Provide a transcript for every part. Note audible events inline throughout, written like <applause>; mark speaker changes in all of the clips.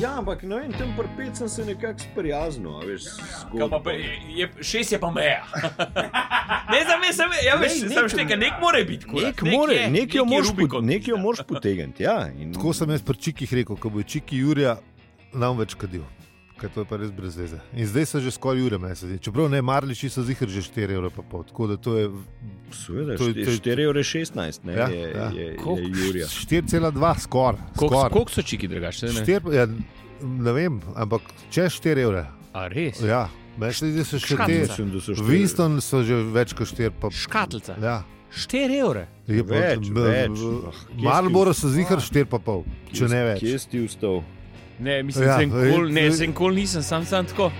Speaker 1: Ja, ampak ne vem, tam prpet sem se nekako sprijaznil, a veš,
Speaker 2: Kaj pa pa
Speaker 1: skupaj.
Speaker 2: je- je, šest je pa
Speaker 1: <laughs>
Speaker 2: meja. ne, za me sem, ja, veš,
Speaker 1: Lej,
Speaker 2: ne,
Speaker 1: nek-
Speaker 2: nek, nekaj, nek mora biti. kurat.
Speaker 1: Nek more,
Speaker 2: je,
Speaker 1: nek jo
Speaker 2: je
Speaker 1: moraš
Speaker 2: Rubikon,
Speaker 1: pot- nek jo
Speaker 2: ja.
Speaker 1: moraš potegniti, ja. In...
Speaker 3: Tako sem jaz pri Čikih rekel, ko bo Čiki Jurija nam več kadil. Ker to je pa res brez veze. In zdaj so že skoraj ure meseci. Čeprav ne, marliči so zihar že 4 evre, pa pol. Tako da to je
Speaker 1: Seveda,
Speaker 3: To je- to je-
Speaker 1: 4,16 evra,
Speaker 3: Ja,
Speaker 1: ne, je,
Speaker 3: ja.
Speaker 1: je,
Speaker 4: Koliko?
Speaker 1: je Jurija.
Speaker 3: 4,2 skoraj.
Speaker 4: Koliko
Speaker 3: Skor.
Speaker 4: koliko so čiki drugače? saj ne?
Speaker 3: Štir- Ja, ne vem, ampak če 4 evre.
Speaker 4: A res?
Speaker 3: Ja, meni se so še te.
Speaker 4: Škatlica.
Speaker 1: Mislim, da so 4
Speaker 3: V Winston so že več kot 4 pa.
Speaker 4: Škatlica.
Speaker 3: Ja.
Speaker 4: 4 evre.
Speaker 3: Je pa-
Speaker 1: Več,
Speaker 3: b-
Speaker 1: več.
Speaker 3: b-
Speaker 1: Ah, kje
Speaker 3: Marlboro
Speaker 1: si
Speaker 3: so zihar 4 pa pol, če ne več.
Speaker 1: Kje si ti vstal?
Speaker 4: Ne, mislim,
Speaker 3: Ja,
Speaker 4: ja, kol, ne,
Speaker 3: eh,
Speaker 4: sem kol nisem, sam sem tako.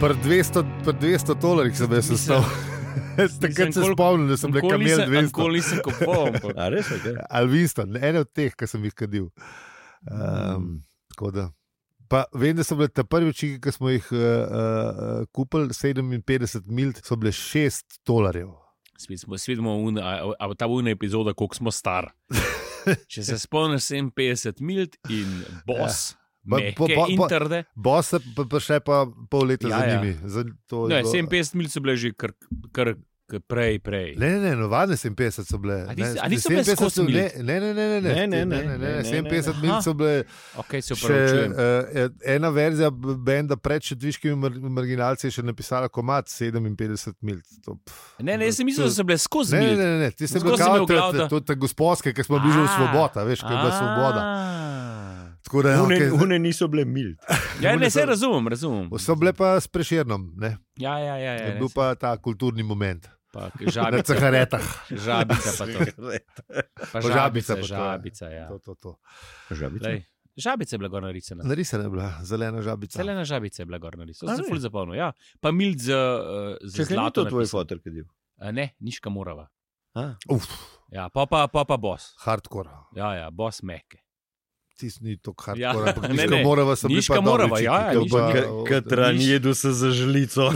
Speaker 3: Pri 200, pri 200 dolarjih sem jaz ostal. <laughs> Takrat se
Speaker 4: nikoli-
Speaker 3: spomnim, da sem bil
Speaker 4: Nikoli
Speaker 3: kamel
Speaker 4: nisem- nikoli
Speaker 3: 200.
Speaker 4: nisem kupoval. ampak-
Speaker 3: <laughs>
Speaker 1: A res je, kaj?
Speaker 3: Ali Winston, ene od teh, ki sem jih kadil. Um, tako da. Pa vem, da so bile te prve čike, ki smo jih uh, uh, kupili, 57 mil, so bile 6 dolarjev.
Speaker 4: Spet smo, spet smo un, a, a ta vodna epizoda, koliko smo
Speaker 3: <laughs>
Speaker 4: star. Če se spomniš, 57 mil in boss,
Speaker 3: Ba-
Speaker 4: ja.
Speaker 3: po-
Speaker 4: mehke po,
Speaker 3: po- po-
Speaker 4: po, in trde.
Speaker 3: Boss pa, pa še pa pol leta ja,
Speaker 4: Ja,
Speaker 3: za
Speaker 4: ja.
Speaker 3: njimi. Ja. Za, to je
Speaker 4: Ne,
Speaker 3: bilo-
Speaker 4: 57 mil so bile že kar, kar, kar prej, prej.
Speaker 3: Ne, ne, ne, navadne 57 so bile.
Speaker 4: A
Speaker 3: ne,
Speaker 4: nis- a niso bile
Speaker 3: 57
Speaker 4: skozi
Speaker 3: so
Speaker 4: mil?
Speaker 3: bile- Ne, ne, ne, ne, ne,
Speaker 1: Ne, ne, ne,
Speaker 3: ne,
Speaker 1: ne, ne,
Speaker 3: ne,
Speaker 1: ne.
Speaker 3: 57
Speaker 4: Aha.
Speaker 3: mil so bile.
Speaker 4: Okay, se
Speaker 3: Še,
Speaker 4: upravičujem.
Speaker 3: eh, ena verzija b- benda pred šedviškimi mar- marginalci je še napisala komat 57 mil. To, pf.
Speaker 4: Ne, ne, jaz sem mislil, da so bile skozi
Speaker 3: Ne, ne,
Speaker 4: mil.
Speaker 3: ne, ne, ti si
Speaker 4: Tako
Speaker 3: bil
Speaker 4: sem
Speaker 3: kao
Speaker 4: imel glav,
Speaker 3: te,
Speaker 4: da-
Speaker 3: te, te gospodske, ki smo bili že v
Speaker 4: A.
Speaker 3: svoboda, veš, ko je bila svoboda.
Speaker 4: A.
Speaker 3: Tako da, ja,
Speaker 1: Une,
Speaker 3: okay,
Speaker 1: une niso bile mil.
Speaker 3: <laughs>
Speaker 4: Ja,
Speaker 3: Oni
Speaker 4: ne,
Speaker 3: so-
Speaker 4: se razumem, razumem.
Speaker 3: so bile pa s preširnom, ne?
Speaker 4: Ja, ja, ja.
Speaker 3: je
Speaker 4: ja
Speaker 3: bil pa ta kulturni moment
Speaker 4: pa
Speaker 3: na <laughs>
Speaker 4: žabica,
Speaker 3: cigaretah.
Speaker 4: žabica pa
Speaker 3: <laughs>
Speaker 4: to. Pa
Speaker 3: Pa
Speaker 4: žabica,
Speaker 3: žabica pa to, ja.
Speaker 4: žabica, ja.
Speaker 3: To, to, to.
Speaker 1: Žabica.
Speaker 4: Lej, žabica je bila gor narisana.
Speaker 3: Narisana je bila zelena žabica.
Speaker 4: Celena žabica je bila gor narisana.
Speaker 1: A
Speaker 4: Sem se
Speaker 1: res?
Speaker 4: ful zapomnil. Ja. Pa mild z, eh, z
Speaker 1: Čakaj, ni
Speaker 4: zlato.
Speaker 1: to tvoj
Speaker 4: napisan.
Speaker 1: fotor, kadil?
Speaker 4: Eh, Ne, niška morava.
Speaker 3: Uf,
Speaker 4: Ja, pa pa, pa, pa bos.
Speaker 3: hardcore.
Speaker 4: Ja, ja, bos
Speaker 3: <laughs>
Speaker 4: meke.
Speaker 3: Tisti ni to hardcore,
Speaker 4: Ja,
Speaker 3: ampak
Speaker 4: <laughs> ne,
Speaker 3: niška
Speaker 4: ne.
Speaker 3: morava sem
Speaker 4: Niška
Speaker 3: bila.
Speaker 4: Morava, ja, ja, niška
Speaker 1: Katran jedu se za žlico.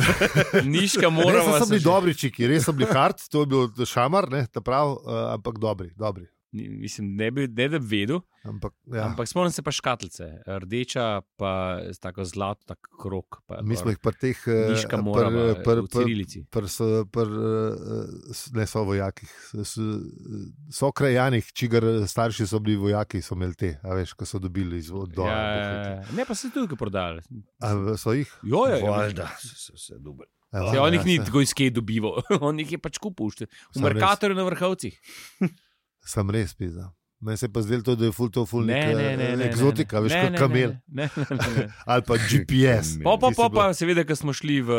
Speaker 4: Niška
Speaker 3: Res
Speaker 4: morava.
Speaker 3: so bili
Speaker 4: že-
Speaker 3: dobri čiki, res so bili hard, to je bil šamar, ne, ta prav, eh, ampak dobri. dobri.
Speaker 4: Ni- Mislim, ne, bi, ne da bi vedel,
Speaker 3: Ampak,
Speaker 4: ja.
Speaker 3: ja, ampak
Speaker 4: ampak spomnim se pa škatlice. Rdeča, pa s tako zlato, tak krok. Pa,
Speaker 3: mi smo jih pri teh eh,
Speaker 4: Niška ja,
Speaker 3: pri-
Speaker 4: morava,
Speaker 3: pri-
Speaker 4: v
Speaker 3: pri-
Speaker 4: cirilici.
Speaker 3: pri so- pri, eh, s- ne so vojakih, s- so krajanih, čigar starši so bili vojaki, so imeli te, a veš, ko so dobili iz
Speaker 4: Ja, ja,
Speaker 3: odora.
Speaker 4: ja. ne, pa se tudi prodajali.
Speaker 3: A so jih? ja,
Speaker 4: Jojo, jojo.
Speaker 1: Valjda, so se dubli.
Speaker 4: Se, on jih Ja, ni tako iskej dobival, <laughs> on jih je pač kupil. šte- V
Speaker 3: Samo res.
Speaker 4: Merkatorju na vrhovcih.
Speaker 3: Sem res pizda. Meni se je pa zdelo, to, da je ful to ful
Speaker 4: Ne,
Speaker 3: nek,
Speaker 4: ne, ne, ne,
Speaker 3: eh,
Speaker 4: ne.
Speaker 3: eksotika, veš,
Speaker 4: Ne, ne,
Speaker 3: kot
Speaker 4: ne,
Speaker 3: kamel
Speaker 4: ne, ne, ne,
Speaker 3: <laughs>
Speaker 4: ne.
Speaker 3: ali
Speaker 4: <laughs>
Speaker 3: pa GPS.
Speaker 4: Po, po,
Speaker 3: Ti si
Speaker 4: po,
Speaker 3: bila-
Speaker 4: pa, seveda, ko smo šli v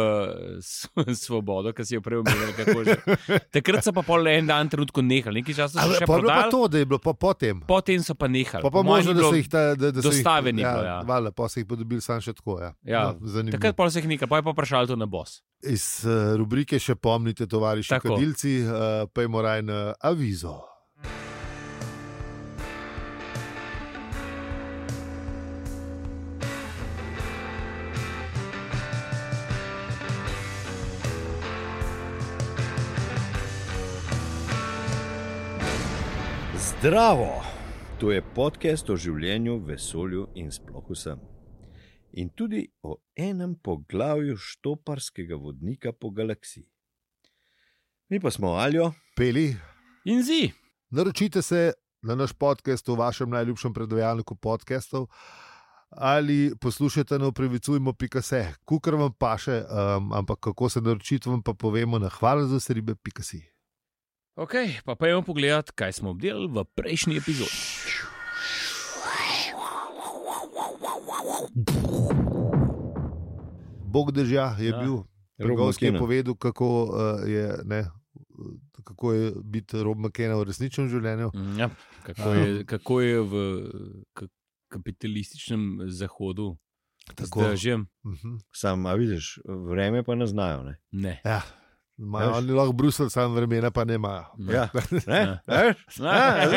Speaker 4: eh, s- <laughs> Svobodo, ki si jo prej omenil, kako
Speaker 3: <laughs>
Speaker 4: že. Takrat so pa pol en dan trenutku nehali, nekaj časa
Speaker 3: A,
Speaker 4: so še
Speaker 3: pa je bilo pa
Speaker 4: prodali,
Speaker 3: to, da je bilo po, po tem.
Speaker 4: potem so pa nehali.
Speaker 3: Pa,
Speaker 4: Po
Speaker 3: pa
Speaker 4: mojem
Speaker 3: možno,
Speaker 4: ni
Speaker 3: da
Speaker 4: bilo-
Speaker 3: so jih ta, da, da so jih-
Speaker 4: dostave ni bilo, ja.
Speaker 3: Valjda, pa so jih podobili sam še tako. Ja.
Speaker 4: Ja.
Speaker 3: zanimivo.
Speaker 4: Takrat pol se jih nekaj, pa je pa vprašal to na bos.
Speaker 3: Iz uh, rubrike še pomnite, tovariši
Speaker 4: Tako.
Speaker 3: kadilci, uh, pa je moraj na avizo.
Speaker 1: Zdravo! To je podcast o življenju, vesolju in sploh vsem. In tudi o enem poglavju štoparskega vodnika po galaksiji. Mi pa smo Aljo,
Speaker 3: Peli,
Speaker 4: In zi,
Speaker 3: naročite se na naš podcast v vašem najljubšem predvajalniku podcastov. Ali no, poslušate na upravičujmo.se, kukar vam paše, um, ampak kako se naročiti, vam pa povemo na hvala za vse ribe.si.
Speaker 4: ok, pa pojmo pogledat, kaj smo obdelali v prejšnji epizodi.
Speaker 3: Bog držja je
Speaker 4: Ja.
Speaker 3: ja. bil.
Speaker 1: Rob
Speaker 3: Rogovski je
Speaker 1: McKenna.
Speaker 3: povedal, kako, uh, je, ne, kako je biti rob McKenna v resničnem življenju.
Speaker 4: Mm, Ja, kako, je, kako je v k- kapitalističnem zahodu,
Speaker 3: Tako.
Speaker 4: tako že.
Speaker 3: Uh -huh.
Speaker 1: sam, a vidiš, vreme pa ne znajo. Ne?
Speaker 4: Ne.
Speaker 3: ja, imajo
Speaker 1: Veš.
Speaker 3: oni lahko Bruselj, sam vremena pa ne imajo.
Speaker 4: Ne. <laughs>
Speaker 1: ne,
Speaker 4: Ja.
Speaker 1: ne.
Speaker 4: Ah,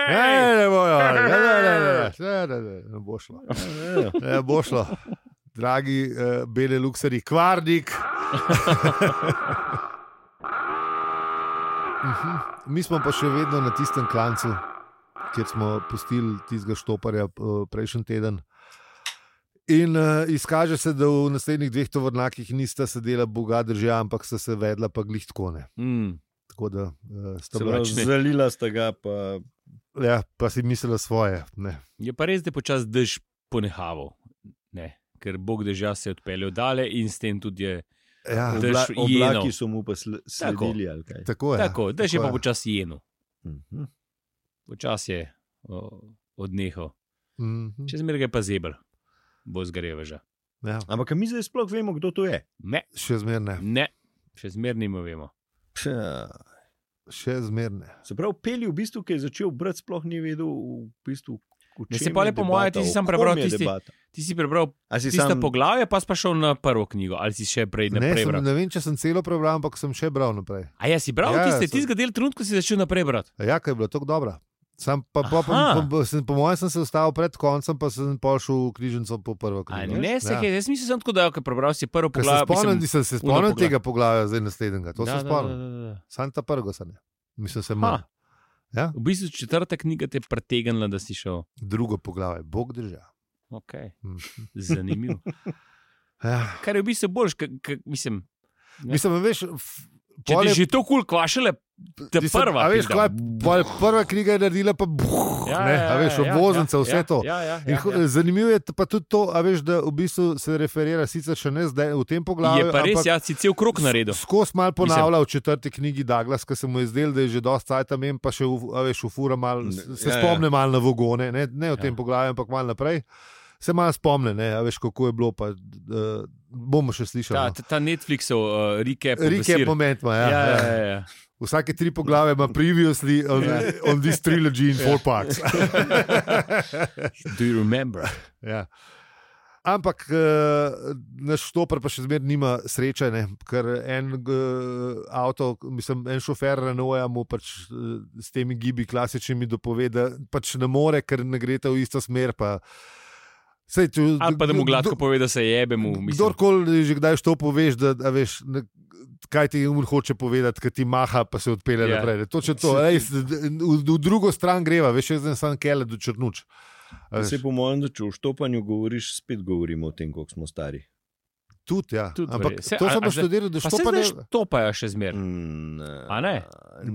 Speaker 1: Ja.
Speaker 3: Ne, ne bojo, ne, ne, ne, ne, ne, ne, ne, ne bo šlo.
Speaker 1: ne.
Speaker 3: Ne Ja, bo šlo. Dragi uh, bele luksari, kvarnik. Mhm. Mi smo pa še vedno na tistem klancu, kjer smo pustili tistega štoparja eh, prejšnji teden. In uh, izkaže se, da v naslednjih dveh tovornjakih nista sedela Boga država, ampak sta se vedla pa glih tako ne.
Speaker 4: Mm.
Speaker 3: Tako da uh, sta
Speaker 1: Se
Speaker 3: bila,
Speaker 1: pravi,
Speaker 4: mračni.
Speaker 1: Zalila sta ga, pa
Speaker 3: ja, pa si mislila svoje. Ne.
Speaker 4: Je pa res, da je počasi dež ponehaval, ne? ker Bog dežja se je odpeljal dale in s tem tudi je.
Speaker 3: Ja,
Speaker 4: Dež
Speaker 1: obla,
Speaker 4: jenov.
Speaker 1: oblaki so mu pa sl-
Speaker 4: Tako.
Speaker 1: sledili. ali kaj.
Speaker 3: tako je.
Speaker 4: Tako, dež je
Speaker 3: ja, tako
Speaker 4: pa
Speaker 3: je.
Speaker 4: počasi jeno,
Speaker 1: Mhm.
Speaker 4: počasi je o, odnehal.
Speaker 3: Mhm.
Speaker 4: Če zmeraj je pa zebr, bo zgareveža.
Speaker 3: Ja,
Speaker 1: Ampak a mi zdaj sploh vemo, kdo to je.
Speaker 4: Ne,
Speaker 3: še zmerne,
Speaker 4: ne, še zmeraj ne vemo.
Speaker 1: Pša.
Speaker 3: še zmerne.
Speaker 1: Se pravi, Peli v bistvu, ki je začel brati, sploh ni vedel, v bistvu, v
Speaker 4: Ne,
Speaker 1: čem
Speaker 4: se pa le
Speaker 1: je
Speaker 4: po moje,
Speaker 1: debata,
Speaker 4: ti si
Speaker 1: o
Speaker 4: samo
Speaker 1: kom
Speaker 4: prebral
Speaker 1: je
Speaker 4: tisti-
Speaker 1: debata.
Speaker 4: Ti si prebral
Speaker 1: A si
Speaker 4: tisto
Speaker 1: sam
Speaker 4: poglavje, pa si pa šel na prvo knjigo, ali si še prej
Speaker 3: Ne,
Speaker 4: naprej
Speaker 3: sem,
Speaker 4: bral.
Speaker 3: ne vem, če sem celo prebral, ampak sem še bral naprej.
Speaker 4: A ja, si bral
Speaker 3: Ja,
Speaker 4: ja, tiste,
Speaker 3: sem-
Speaker 4: sem... tistega del trenutka si začel naprej brati.
Speaker 3: Ja, ker je bilo tako dobro. Sam pa, pa,
Speaker 4: Aha.
Speaker 3: pa, pa, sem, po mojem, sem se ustavil pred koncem, pa sem pa šel v križnico po prvo
Speaker 4: A
Speaker 3: knjigo. Ja.
Speaker 4: Ne, se je, jaz mislim, sem tako dal, ker prebral si prvo
Speaker 3: Ker se
Speaker 4: poglavje.
Speaker 3: spomnim,
Speaker 4: mislim-
Speaker 3: mislim, se
Speaker 4: uno
Speaker 3: spomnim
Speaker 4: poglavje.
Speaker 3: tega poglavja, zdaj naslednjega. To
Speaker 4: Da,
Speaker 3: se
Speaker 4: da,
Speaker 3: spomnim.
Speaker 4: da, da, da.
Speaker 3: Sam ta prvo se ne. Mislim, se
Speaker 4: Ha.
Speaker 3: ima Ja.
Speaker 4: V bistvu četrta knjiga te je pretegnila, da si šel.
Speaker 3: drugo poglavje, Bog drža.
Speaker 4: Okay.
Speaker 3: Mhm.
Speaker 4: Zanimivo.
Speaker 3: <laughs> Ja.
Speaker 4: Kar je v bistvu boljš, k, k, mislim. Ne.
Speaker 3: Mislim, veš,
Speaker 4: Če ti že to kul kvašele, te prva.
Speaker 3: A veš,
Speaker 4: pizda.
Speaker 3: kaj, pol, prva knjiga je naredila, pa buh, ja, ne, a veš, obvoznica, ja, vse
Speaker 4: ja,
Speaker 3: ja, to. Ja.
Speaker 4: Ja, ja,
Speaker 3: In,
Speaker 4: ja,
Speaker 3: ho-
Speaker 4: ja.
Speaker 3: zanimivo je t- pa tudi to, a veš, da v bistvu se referira sicer še ne zdaj v tem
Speaker 4: Je
Speaker 3: poglavju.
Speaker 4: pa res,
Speaker 3: ampak
Speaker 4: ja, si cel krok naredil.
Speaker 3: Skozi malo ponavlja v četrti knjigi Douglas, ki se mu je zdel, da je že dosti cajt tam, pa še v- a veš, ufura malo,
Speaker 1: Ne,
Speaker 3: se
Speaker 1: ja, ja.
Speaker 3: spomne malo na vogone, ne, ne
Speaker 4: Ja.
Speaker 3: v tem poglavju, ampak malo naprej. Se malo spomne, ne, a veš, kako je bilo, pa uh, bomo še slišali.
Speaker 4: Ta,
Speaker 3: no.
Speaker 4: ta- ta Netflixov uh, recap.
Speaker 3: Rike je
Speaker 4: obesir.
Speaker 3: moment, ma, ja,
Speaker 4: Ja,
Speaker 3: ja.
Speaker 4: ja, ja.
Speaker 3: Vsake tri poglave ima previously on, on this trilogy in four parts.
Speaker 4: Do you remember?
Speaker 3: Ja. Ampak eh, naš štoper pa še zmeraj nima sreče, ne? ker en eh, avto, mislim, en šofer Renoja mu pač eh, s temi gibi klasičnimi dopove, da pač ne more, ker ne greste v isto smer. Pa, sej, če,
Speaker 4: Ali pa da mu gladko pove, da se jebe mu. mislim.
Speaker 3: Kdorkoli že kdaj to poveš, da, da veš, ne, kaj ti umr hoče povedati, ki ti maha, pa se
Speaker 4: Ja.
Speaker 3: odpele yeah. naprej. Točno to, res, v, v drugo stran greva, veš, jaz sem sam kele do črnuč. A
Speaker 1: Se
Speaker 3: veš,
Speaker 1: po mojem, da če v štopanju govoriš, spet govorimo o tem, kako smo stari.
Speaker 3: Tudi, ja.
Speaker 4: Tudi
Speaker 3: Ampak
Speaker 4: verjetno. Se-
Speaker 3: to
Speaker 4: a-
Speaker 3: sem
Speaker 4: a
Speaker 3: pa
Speaker 4: zdaj-
Speaker 3: študiral, da
Speaker 4: Pa se
Speaker 3: štopanje.
Speaker 4: znaš, to pa je še zmeraj.
Speaker 1: Mm,
Speaker 4: A ne?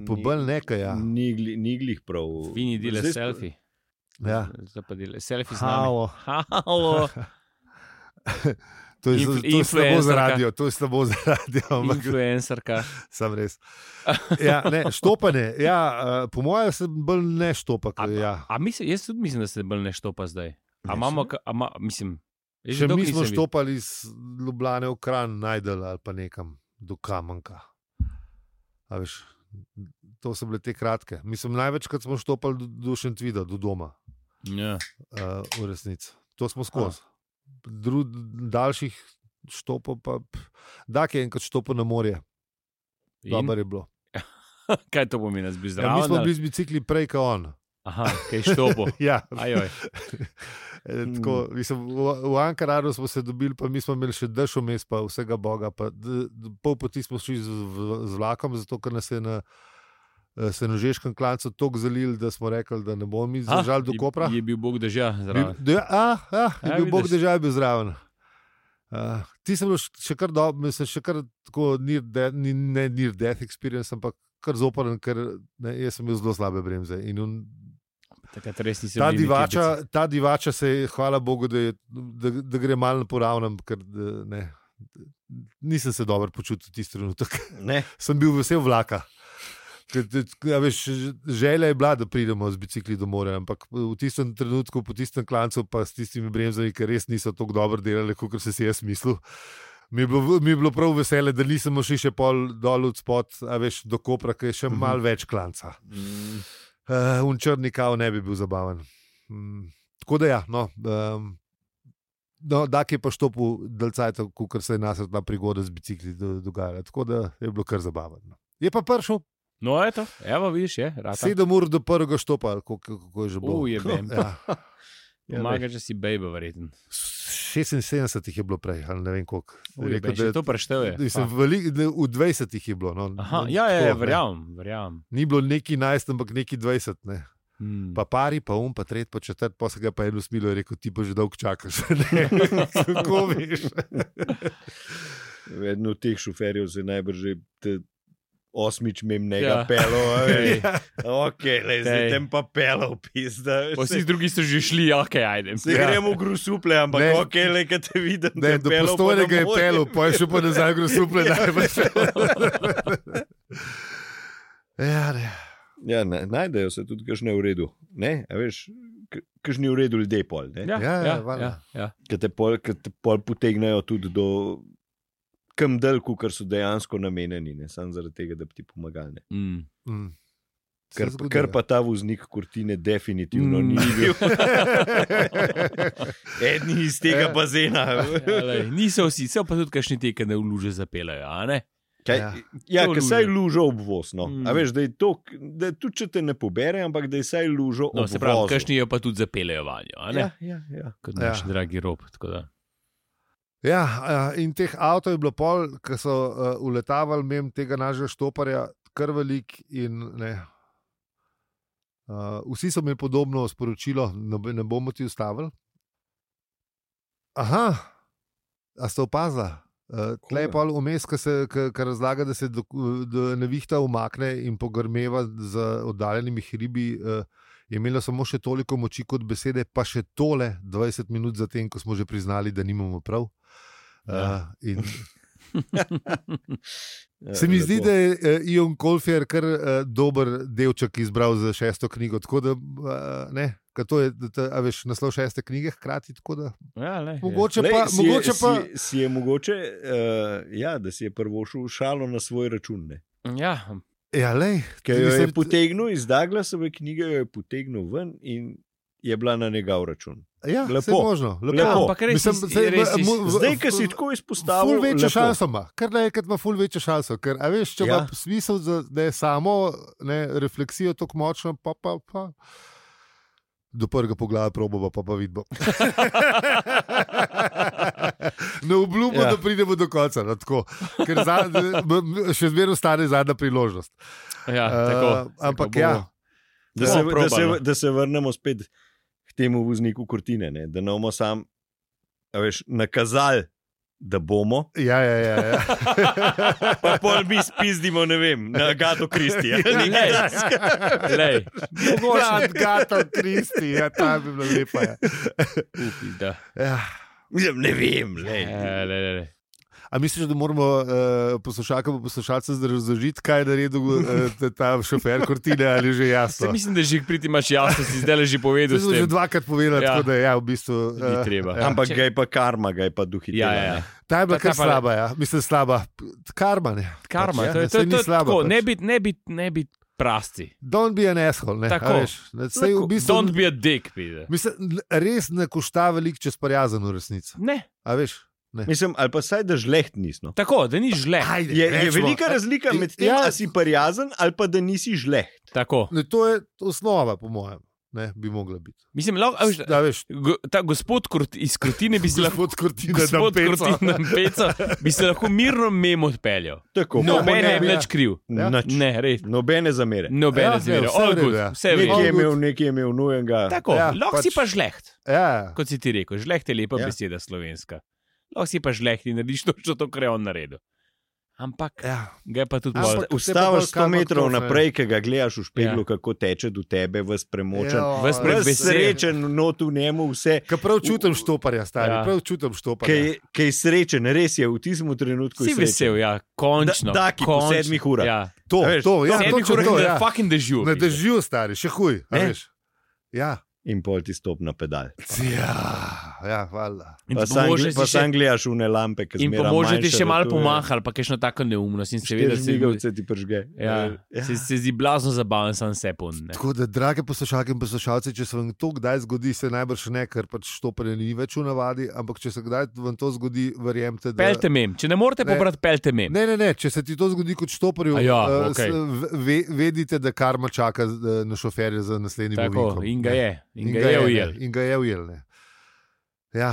Speaker 3: Pobel nekaj, ja.
Speaker 4: Mm,
Speaker 1: Ni glih prav.
Speaker 4: Vini dele
Speaker 1: Zdaj sp-
Speaker 4: selfie.
Speaker 3: Ja.
Speaker 4: Zdaj pa dele selfie. z nami.
Speaker 3: Halo.
Speaker 4: Halo.
Speaker 3: To je,
Speaker 4: Influ-
Speaker 3: to je slabo za
Speaker 4: influencerka.
Speaker 3: radio, to je slabo za radio,
Speaker 4: <laughs>
Speaker 3: <laughs> ampak
Speaker 4: Influencerka.
Speaker 3: sem res. Ja, ne, štopanje, ja, eh, po mojem, sem bolj ne štopak.
Speaker 4: A-
Speaker 3: Ja.
Speaker 4: A mislim, jaz tudi mislim, da se bolj ne štopa zdaj. A imamo, ka- a ma, mislim, jaz že
Speaker 3: Še
Speaker 4: dolgo
Speaker 3: mi smo
Speaker 4: nisem videl.
Speaker 3: štopali iz Ljubljana v Kran, najdel ali pa nekam do Kamenka. A Veš, to so bile te kratke. Mislim, največkrat smo štopali do, do Šentvida, do doma,
Speaker 4: Ja.
Speaker 3: uh, v resnici. To smo skozi. Dru, daljših štopov pa. Da, ki je enkrat štopil na morje,
Speaker 4: In?
Speaker 3: dobro je bilo.
Speaker 4: <laughs> Kaj to pomeni, da bi zdaj?
Speaker 3: Ja, mi smo bili z bicikli prej kot on.
Speaker 4: Aha, kaj
Speaker 3: <laughs>
Speaker 4: štopo.
Speaker 3: Ja,
Speaker 4: Ajoj.
Speaker 3: E, Tako, mislim, v, v Ankaranu smo se dobili, pa mi smo imeli še dež vmes, pa vsega Boga. Pa, d, d, pol poti smo šli z, v- z vlakom, zato ker nas je na eh, senožeškem klancu tako zalil, da smo rekli, da ne bomo mi
Speaker 4: A,
Speaker 3: zdržali do
Speaker 4: je-
Speaker 3: Kopra.
Speaker 4: Je bil Bog dežja zraven.
Speaker 3: Bi- da- a, a, je
Speaker 4: Ja,
Speaker 3: bil Bog
Speaker 4: vidiš.
Speaker 3: držav, je bil zraven. Uh, ti si bil š- še kar dober, mislim, še kar tako near death, ni, ne near death experience, ampak kar zoporen, ker ne, jaz sem imel zelo slabe bremze. In on-
Speaker 4: Takrat res nisem
Speaker 3: ta
Speaker 4: bil nikjer
Speaker 3: divača, ta divača se je, hvala Bogu, da, je, da, da gre malo po ravnem, ker da, ne, nisem se dobro počutil tisti trenutek.
Speaker 1: Ne,
Speaker 3: Sem bil vesel vlaka. Ker, t- a Veš, želja je bila, da pridemo z bicikli do morja, ampak v tistem trenutku, po tistem klancu, pa s tistimi bremzami, ki res niso tako dobro delali, kot sem si jaz mislil. Mi je, bilo, v- mi je bilo prav vesele, da nismo šli še pol dol od spod, a veš do Kopra, ki je še
Speaker 1: Mhm.
Speaker 3: malo več klanca.
Speaker 1: Mm,
Speaker 3: Uh, un črni kav ne bi bil zabaven. Mm, tako da, ja, no, um, no da je pa štopu delcajt, kot se je nasred ta prigoda z bicikli do, dogajala. Tako da je bilo kar zabavno. Je pa prišel
Speaker 4: biti. No, eto, evo, vidiš, je. Rata.
Speaker 3: sedem ur do prvega štopa, ali kako, kako je že bilo.
Speaker 4: Uj, je bem.
Speaker 3: <laughs> ja,
Speaker 1: ja,
Speaker 4: Pomaga, če si bejba, verjeten.
Speaker 3: 76 jih je bilo prej, ali ne vem koliko.
Speaker 4: Uj, je
Speaker 3: Rekel,
Speaker 4: bem.
Speaker 3: da
Speaker 4: Če
Speaker 3: je-
Speaker 4: to prešteje.
Speaker 3: Mislim, velik, da v 20 jih je bilo. No,
Speaker 4: Aha,
Speaker 3: no,
Speaker 4: ja, ja,
Speaker 3: tako,
Speaker 4: ja
Speaker 3: ne.
Speaker 4: verjamem, verjamem.
Speaker 3: Ni bilo neki 11, ampak neki 20. Ne.
Speaker 4: Hmm.
Speaker 3: Pa pari, pa um, pa tret, pa četrt, pa se ga pa eno smilo je rekel, ti pa že dolgo čakaš. <laughs> Ne, Kako veš?
Speaker 1: Vedno teh šoferjev se najbrž že te- osmič mem
Speaker 4: Ja.
Speaker 1: nega ja. pelo. a veš.
Speaker 4: Ej, <laughs>
Speaker 1: ok, le,
Speaker 4: Ej.
Speaker 1: zdaj tem pa pelo, pizda.
Speaker 4: pa Vsi drugi so že šli, ok, ajde.
Speaker 1: Se
Speaker 3: Ja.
Speaker 1: ja. gremo v grusuple, ampak
Speaker 3: Ne.
Speaker 1: ne. ok, le, kaj te vidim.
Speaker 3: Ne,
Speaker 1: te
Speaker 3: do
Speaker 1: pelov pa
Speaker 3: postojnega je
Speaker 1: domov.
Speaker 3: pelil, pa je šel pa nazaj, gre suple
Speaker 1: Ja.
Speaker 3: največ.
Speaker 1: <laughs>
Speaker 3: Ja, ne.
Speaker 1: Ja, na, najdejo se tudi kakšne v redu. Ne, a veš, k- kakšni v redu ljudje pol, ne?
Speaker 4: Ja,
Speaker 3: Ja,
Speaker 4: ja, ja,
Speaker 3: valjda.
Speaker 4: ja, ja.
Speaker 1: ki te, pol- ke te pol potegnejo tudi do kam delku, kar so dejansko namenjeni, ne samo zaradi tega, da bi ti pomagali. ne.
Speaker 4: Mm.
Speaker 3: Mm. Se ja.
Speaker 1: Ker,
Speaker 3: zgodilo.
Speaker 1: ker pa ta voznik kurtine definitivno
Speaker 4: Mm.
Speaker 1: mm. ni
Speaker 3: <laughs>
Speaker 1: bil. Edni iz tega
Speaker 3: Ja.
Speaker 1: bazena.
Speaker 4: Ja, lej, niso vsi, so pa tudi kašni te, ki ne vluže zapelajo. a Ne?
Speaker 1: Kaj,
Speaker 3: Ja.
Speaker 1: ja,
Speaker 4: To
Speaker 1: ker
Speaker 4: luže.
Speaker 1: saj lužo obvozno.
Speaker 4: Mm.
Speaker 1: Mm. Veš, da je to, da tudi če te ne pobere, ampak da je saj lužo
Speaker 4: No,
Speaker 1: obvozno.
Speaker 4: se pravi, kašni jo pa tudi zapelajo vanjo, a ne?
Speaker 1: Ja, ja, ja.
Speaker 4: kot
Speaker 3: Ja.
Speaker 4: naš ja. dragi rob. tako da.
Speaker 3: Ja, eh, in teh avtomobilov je bilo pol, ki so uh, uletavali mem tega našega štoparja, kar velik. In, ne, uh, vsi so mi podobno sporočilo, ne, bo- ne bomo ti ustavili. Aha, a ste opazili? Uh, tle je
Speaker 1: Koga?
Speaker 3: pol vmes, ki se- ki- ki razlaga, da se doku- da nevihta umakne in pogrmeva z oddaljenimi hribi. Uh, je imela samo še toliko moči kot besede, pa še tole 20 minut zatem, ko smo že priznali, da nimamo prav. Uh,
Speaker 4: Ja.
Speaker 3: in
Speaker 1: <laughs> Ja,
Speaker 3: se mi zdi,
Speaker 1: lepo.
Speaker 3: da je eh, Ion Kolfer kar uh, dober delček izbral za šesto knjigo. Tako da, uh, ne, ker to je, da, ta, a veš, naslov šeste knjige hkrati. tako Da,
Speaker 4: Ja, lej,
Speaker 3: mogoče
Speaker 1: Lej,
Speaker 3: pa,
Speaker 1: si je-
Speaker 3: mogoče pa
Speaker 1: Si, si je mogoče, uh, ja, da si je prvo šel šalo na svoj račun. Ne?
Speaker 4: Ja, <laughs>
Speaker 3: ja, lej,
Speaker 1: Ker jo je
Speaker 3: Mislim,
Speaker 1: potegnil iz Daglasove knjige, jo je potegnil ven in je bila na njegov račun.
Speaker 3: ja,
Speaker 1: Lepo.
Speaker 3: lepo. Možno, lepo.
Speaker 1: Lepo.
Speaker 4: Ampak res si-
Speaker 3: saj
Speaker 4: res
Speaker 3: v-
Speaker 4: si-
Speaker 3: mu- v-
Speaker 1: Zdaj, ki si
Speaker 3: v-
Speaker 1: tako
Speaker 3: Ful
Speaker 1: izpostavil,
Speaker 3: večjo
Speaker 1: lepo.
Speaker 3: šanso ima, ker naenkrat ima ful večjo šanso. Ker, a veš, če
Speaker 1: Ja.
Speaker 3: ima smisel, za- da je samo ne, refleksijo tako močno, pa pa pa. Do prvega pogleda probava, pa pa vidimo. ne obljubim, ja.
Speaker 1: Ja.
Speaker 3: da pridemo do konca. No, tako. Ker za, m- m- še zmeraj ostane zadnja priložnost.
Speaker 4: ja,
Speaker 3: Eh,
Speaker 4: tako,
Speaker 3: ampak
Speaker 4: tako
Speaker 3: ja,
Speaker 4: bomo.
Speaker 1: Da
Speaker 4: Ja,
Speaker 1: se, da,
Speaker 4: probano.
Speaker 1: se, da se vrnemo spet k temu vozniku Kortine, ne? da ne bomo sam a veš, nakazali, da bomo,
Speaker 3: ja, ja, ja, ja.
Speaker 1: pa pol mi spizdimo, ne vem, na Gato
Speaker 4: <laughs>
Speaker 1: Kristija.
Speaker 4: Lej, <laughs> lej,
Speaker 3: Mogoče Gato Kristi, ja, ta bi bila lepa. Ja.
Speaker 4: upi, da.
Speaker 3: Ja.
Speaker 1: Mislim, Ne vem, lej.
Speaker 4: Ja, lej, lej, lej.
Speaker 3: A misliš, da moramo uh, poslušalkam in poslušalcem zdaj razložiti, kaj je naredil uh, ta šofer Kortine ali že
Speaker 4: Se,
Speaker 3: jasno?
Speaker 4: mislim, da že priti imaš jasno, si zdaj le že povedal.
Speaker 3: Zdaj
Speaker 4: s
Speaker 3: smo že
Speaker 4: tem.
Speaker 3: dvakrat povedali,
Speaker 4: Ja.
Speaker 3: ja. da je ja, v bistvu.
Speaker 4: Ni
Speaker 3: Uh,
Speaker 4: treba.
Speaker 1: <laughs>
Speaker 3: Ja.
Speaker 1: Ampak ga je pa karma, ga je pa duhitela.
Speaker 4: Ja, ja, ja.
Speaker 1: ne.
Speaker 3: ta je bila
Speaker 4: Ta- ta
Speaker 3: kar
Speaker 4: pa-
Speaker 3: slaba, ja. mislim, slaba. Karma. Ne.
Speaker 4: Karma,
Speaker 3: Pač, ja,
Speaker 4: to je,
Speaker 3: saj
Speaker 4: to je,
Speaker 3: ni
Speaker 4: to je
Speaker 3: slabo
Speaker 4: tako.
Speaker 3: pač.
Speaker 4: Ne biti ne bit, ne bit prasti.
Speaker 3: Don't be an asshole. Ne, a
Speaker 4: Tako.
Speaker 3: veš. Ne, saj v bistvu,
Speaker 4: Don't be a dick, pide.
Speaker 3: mislim, n- res ne košta veliko, če sprijazen v resnici.
Speaker 4: Ne,
Speaker 3: A veš?
Speaker 1: Mislim, ali pa saj da žleht nismo.
Speaker 4: tako, da ni žle.
Speaker 3: Ajde,
Speaker 1: Je, je
Speaker 3: recimo.
Speaker 1: velika razlika med tem,
Speaker 3: Ja.
Speaker 1: ja. da si prijazen ali pa da nisi žleht.
Speaker 4: Tako.
Speaker 3: Ne, to je osnova, po mojem. Ne, bi mogla biti.
Speaker 4: Mislim, lahko, a veš,
Speaker 3: Da, veš,
Speaker 4: go- ta gospod Krut, iz Krutine bi se lahko.
Speaker 3: gospod Kortina, da
Speaker 4: Gospod
Speaker 3: peca.
Speaker 4: Krutinem Peca bi se lahko mirno mem odpeljal.
Speaker 1: Tako,
Speaker 3: No,
Speaker 1: no,
Speaker 4: Noben
Speaker 3: ne,
Speaker 4: je
Speaker 3: ja.
Speaker 4: bil nič kriv.
Speaker 3: Ja.
Speaker 1: nič, ne.
Speaker 4: Ne, res.
Speaker 1: nobene zamere.
Speaker 4: Nobene
Speaker 3: Ja,
Speaker 4: ja,
Speaker 3: ne,
Speaker 4: zvere,
Speaker 3: vse v
Speaker 4: all
Speaker 3: redu,
Speaker 4: good,
Speaker 3: ja.
Speaker 4: vse je v
Speaker 1: Nekje
Speaker 4: redu.
Speaker 1: je
Speaker 3: All
Speaker 1: imel,
Speaker 3: good.
Speaker 1: nekje je imel nujenega.
Speaker 4: Tako,
Speaker 3: Ja,
Speaker 4: ja, lahko si
Speaker 3: pač-
Speaker 4: pa žleht,
Speaker 3: Ja.
Speaker 4: kot si ti rekel. Žleht je lepa
Speaker 1: Ja.
Speaker 4: ja. beseda slovenska. Lahko si pa žleht in narediš točno to, <laughs> kar je on naredil. Ampak
Speaker 3: Ja.
Speaker 4: ga je pa tudi
Speaker 3: Ampak-
Speaker 4: bolj.
Speaker 1: Ustaviš
Speaker 3: Te pa
Speaker 1: 100
Speaker 3: bolj
Speaker 1: metrov
Speaker 3: kamor to,
Speaker 1: naprej, ki ga gledaš v špeglu,
Speaker 4: Ja.
Speaker 1: ja. kako teče do tebe, vas premočen.
Speaker 3: Jo,
Speaker 4: Ves pred
Speaker 1: Ves
Speaker 4: Vesel.
Speaker 1: srečen, not v njemu, vse.
Speaker 3: Ka prav čutim štoparja, stari,
Speaker 4: Ja.
Speaker 3: ja. prav čutim štoparja.
Speaker 1: Kaj je srečen, res je v tistem trenutku.
Speaker 4: Si
Speaker 1: je srečen.
Speaker 4: vesel, ja, končno.
Speaker 1: Da- taki po
Speaker 4: končno.
Speaker 1: sedmih urah.
Speaker 4: Ja,
Speaker 3: To,
Speaker 1: A veš,
Speaker 3: to, ja,
Speaker 4: sedmih
Speaker 3: točno
Speaker 4: urah
Speaker 3: to,
Speaker 4: na
Speaker 3: ja.
Speaker 4: fucking dežju.
Speaker 3: Na
Speaker 4: pizda.
Speaker 3: dežju, stari, še huj. a
Speaker 1: Ne?
Speaker 3: veš. Ja,
Speaker 1: In pol ti stop na pedal.
Speaker 3: ja, ja hvala.
Speaker 4: In
Speaker 1: Pa
Speaker 4: ti
Speaker 1: sam, gle-
Speaker 4: pomože
Speaker 1: pa
Speaker 4: si
Speaker 1: sam
Speaker 4: še-
Speaker 1: gledaš v ne lampe, ki
Speaker 4: in
Speaker 1: zmeraj
Speaker 4: pomože
Speaker 1: manjše,
Speaker 4: ti
Speaker 1: da
Speaker 4: še malo
Speaker 1: to ja. je-
Speaker 4: pomahal, pa kajšno tako neumnost. In
Speaker 1: Štiri
Speaker 4: seveda se
Speaker 1: žvigalce ti pržge.
Speaker 4: Ja,
Speaker 1: Ja.
Speaker 4: se, se zdi blazno zabaven, sam se pun.
Speaker 3: Tako da, drage poslušalke in poslušalci, če se vam to kdaj zgodi, se najbrž ne, ker pač štoparje ni več v navadi, ampak če se kdaj vam to zgodi, verjemite, da.
Speaker 4: Pelte mem, če ne morete
Speaker 3: Ne.
Speaker 4: pobrati, pelte mem.
Speaker 3: Ne, ne, ne, če se ti to zgodi kot štoparju,
Speaker 4: A ja,
Speaker 3: eh,
Speaker 4: okej.
Speaker 3: s- ve, vedite, da karma čaka eh, na šoferje za naslednji
Speaker 4: Tako, in ga je, in, in ga je
Speaker 3: no. ne,
Speaker 4: ujel.
Speaker 3: In ga je ujel. ne. Ja.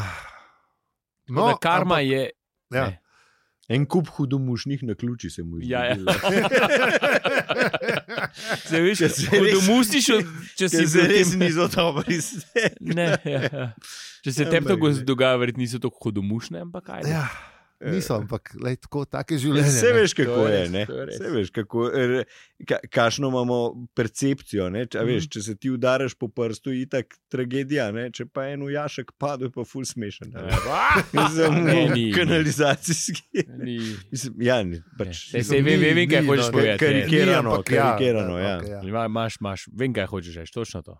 Speaker 4: No, karma ampak,
Speaker 3: ampak-
Speaker 4: je.
Speaker 3: Ja.
Speaker 4: ne.
Speaker 1: En kup hudomušnih na ključi se mu je.
Speaker 4: Ja, ja. <laughs>
Speaker 1: zgodilo.
Speaker 4: Se veš,
Speaker 1: Če se
Speaker 4: ko
Speaker 1: res-
Speaker 4: domustiš, če si
Speaker 1: Ker se
Speaker 4: bil <laughs>
Speaker 1: res
Speaker 4: tem-
Speaker 1: niso dobri. iztekli.
Speaker 4: Ne, ja, ja. Če se tebi
Speaker 1: Ampak
Speaker 4: tako
Speaker 1: ne.
Speaker 4: dogaja, verjetno niso tako hudomušne, ampak kaj.
Speaker 3: Ja, niso, ampak lej, tako take
Speaker 1: Ja,
Speaker 3: življenje.
Speaker 1: Vse
Speaker 3: ne.
Speaker 1: veš,
Speaker 4: To
Speaker 1: kako je.
Speaker 4: je res,
Speaker 1: ne.
Speaker 4: to je res.
Speaker 1: Saj veš, kako, er, ka, kašno imamo percepcijo. Ne? Če, a
Speaker 4: Mhm.
Speaker 1: veš, če se ti udaraš po prstu, je tako tragedija. Ne? Če pa en ujašek pade, je pa ful smešen. a veš. <laughs> Mislim,
Speaker 4: Ja. Ne,
Speaker 1: v
Speaker 4: ni.
Speaker 1: Kanalizacijski.
Speaker 4: Ni.
Speaker 1: Mislim, ja, ni, pač,
Speaker 4: Ne, saj vem, vem, vem, kaj
Speaker 3: Ni,
Speaker 4: hočeš
Speaker 3: no,
Speaker 4: povedati.
Speaker 1: kar-
Speaker 4: ne.
Speaker 1: kar- karikirano,
Speaker 3: Ni, ampak ja,
Speaker 1: karikirano, ja.
Speaker 3: okej,
Speaker 4: Ima- Imaš, imaš, vem, kaj hočeš reči, točno to.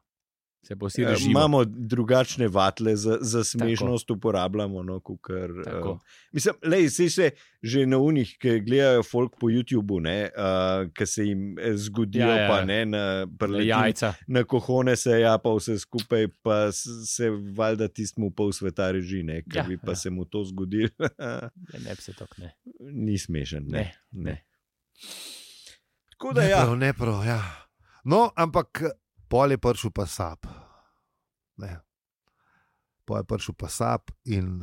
Speaker 4: Se
Speaker 1: eh,
Speaker 4: posiraš.
Speaker 1: Imamo drugačne vatle za, za smešnost, uporabljamo. No, kukar,
Speaker 4: Tako.
Speaker 1: Mislim, lej, sej se že na unih, ki gledajo folk po YouTubu, uh, ki se jim eh, zgodijo, ja,
Speaker 4: Ja,
Speaker 1: ja.
Speaker 4: ja.
Speaker 1: pa ne na preletu,
Speaker 4: Jajca.
Speaker 1: na kohone se ja, pa vse skupaj, pa s- se valjda tistemu pol sveta reži, ne, ker
Speaker 4: Ja,
Speaker 1: ja, bi pa ja.
Speaker 4: ja.
Speaker 1: se mu to zgodilo. <laughs>
Speaker 4: Ne, Ja, ne, bi se tok ne.
Speaker 1: Ni smešen, <laughs> ne.
Speaker 4: Ne,
Speaker 1: ne.
Speaker 4: ne.
Speaker 1: ne. Tako da
Speaker 3: Ne
Speaker 1: ja.
Speaker 3: prav, ne prav, ja. No, ampak pol je prišel pa sap. Ne. Pol je prišel pa sap in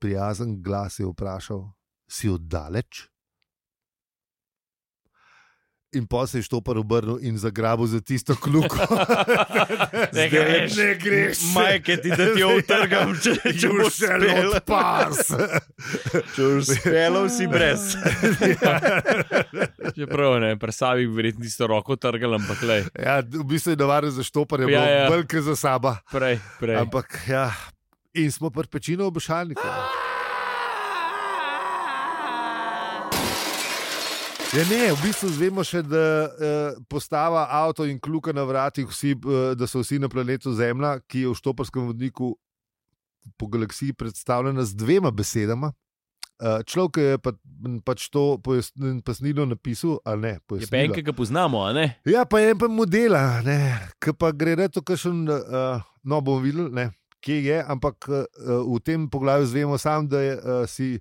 Speaker 3: prijazen glas je vprašal, si oddaleč. In pa se je štopar obrnil in zagrabil za tisto kljuko.
Speaker 4: Ne greš.
Speaker 3: ne greš.
Speaker 1: Majke ti, da ti jo utrgam, če, če boš
Speaker 3: šel
Speaker 1: uspel.
Speaker 3: odpas.
Speaker 1: Če boš <laughs> uspel, si brez. <laughs>
Speaker 4: Ja. Čeprav ne, presavi verjetno tisto roko trgal, ampak le,
Speaker 3: <laughs> Ja, v bistvu je navaren za štoparje,
Speaker 4: Ja,
Speaker 3: ja,
Speaker 4: ja.
Speaker 3: ja. velike za saba.
Speaker 4: prej, prej.
Speaker 3: Ampak ja, in smo pri pečino obešalnika. Ja, ne, v bistvu znamo še, da eh, postava avto in kljuka na vratih, vsi, eh, da so vsi na planetu Zemlja, ki je v štoparskem vodniku po galaksiji predstavljena z dvema besedama. Eh, človek je pa, pač to pojasn- pojasnilo napisal, ali ne?
Speaker 4: Je
Speaker 3: pojasnilo.
Speaker 4: pa enega, ki ga poznamo, a ne?
Speaker 3: Ja, pa je en pa modela, ki pa gre reto, kakšen, uh, no bomo videli, ne, kje je, ampak uh, v tem poglavju znamo sam, da je, uh, si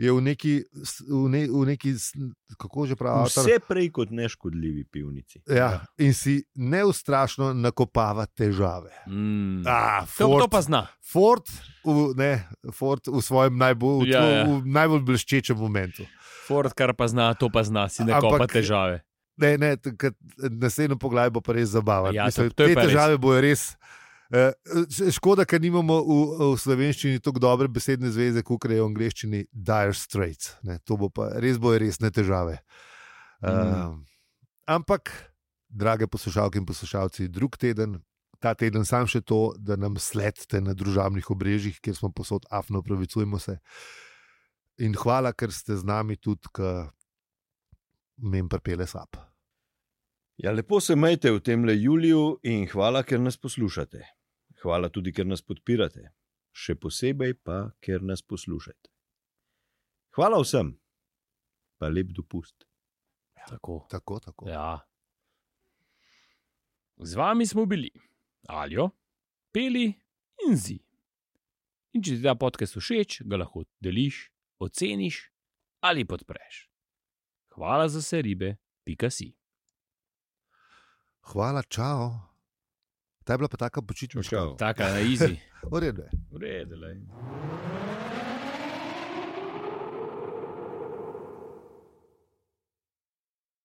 Speaker 3: je v neki, s- v ne, v neki s- kako že pravi, avtor.
Speaker 1: Vse prej kot neškodljivi pivnici.
Speaker 3: Ja, in si neustrašno nakopava težave.
Speaker 4: Mm.
Speaker 3: Ah,
Speaker 4: To,
Speaker 3: Ford,
Speaker 4: to pa zna.
Speaker 3: Ford, v, ne, Ford v svojem najbolj,
Speaker 4: Ja,
Speaker 3: ja,
Speaker 4: ja.
Speaker 3: ja. v najbolj bleščečem momentu.
Speaker 4: Ford, kar pa zna, to pa zna, si ne kopa
Speaker 3: Ampak-
Speaker 4: težave.
Speaker 3: Ne, ne, t- ker naslednjo poglavje bo pa res zabavno.
Speaker 4: Ja,
Speaker 3: Ja,
Speaker 4: to-
Speaker 3: Mislim,
Speaker 4: to je
Speaker 3: te
Speaker 4: pa res.
Speaker 3: težave bojo res. eh, š- Škoda, ker nimamo v, v slovenščini tako dobre besedne zveze, kot je v angleščini dire straits. Ne, to bo pa res bojo resne težave.
Speaker 4: Mhm.
Speaker 3: Mm. Um, ampak, drage poslušalke in poslušalci, drug teden, ta teden sam še to, da nam sledite na družabnih obrežjih, kjer smo posod afno, upravičujemo se. In hvala, ker ste z nami tudi, ker mem prepele sap.
Speaker 1: Ja, lepo se majte v tem le juliju in hvala, ker nas poslušate. Hvala tudi, ker nas podpirate. Še posebej pa, ker nas poslušate. Hvala vsem, pa lep dopust.
Speaker 4: Tako.
Speaker 3: Tako, tako.
Speaker 4: Ja. Z vami smo bili, alijo, peli in zi. In če ti ta podcast všeč, ga lahko deliš, oceniš ali podpreš. Hvala za vse ribe, pika si.
Speaker 3: Hvala, čau. Ta je bila pa taka počitnica.
Speaker 1: Čau, čau.
Speaker 4: Taka na izi.
Speaker 3: V redu je.
Speaker 4: Uredelej.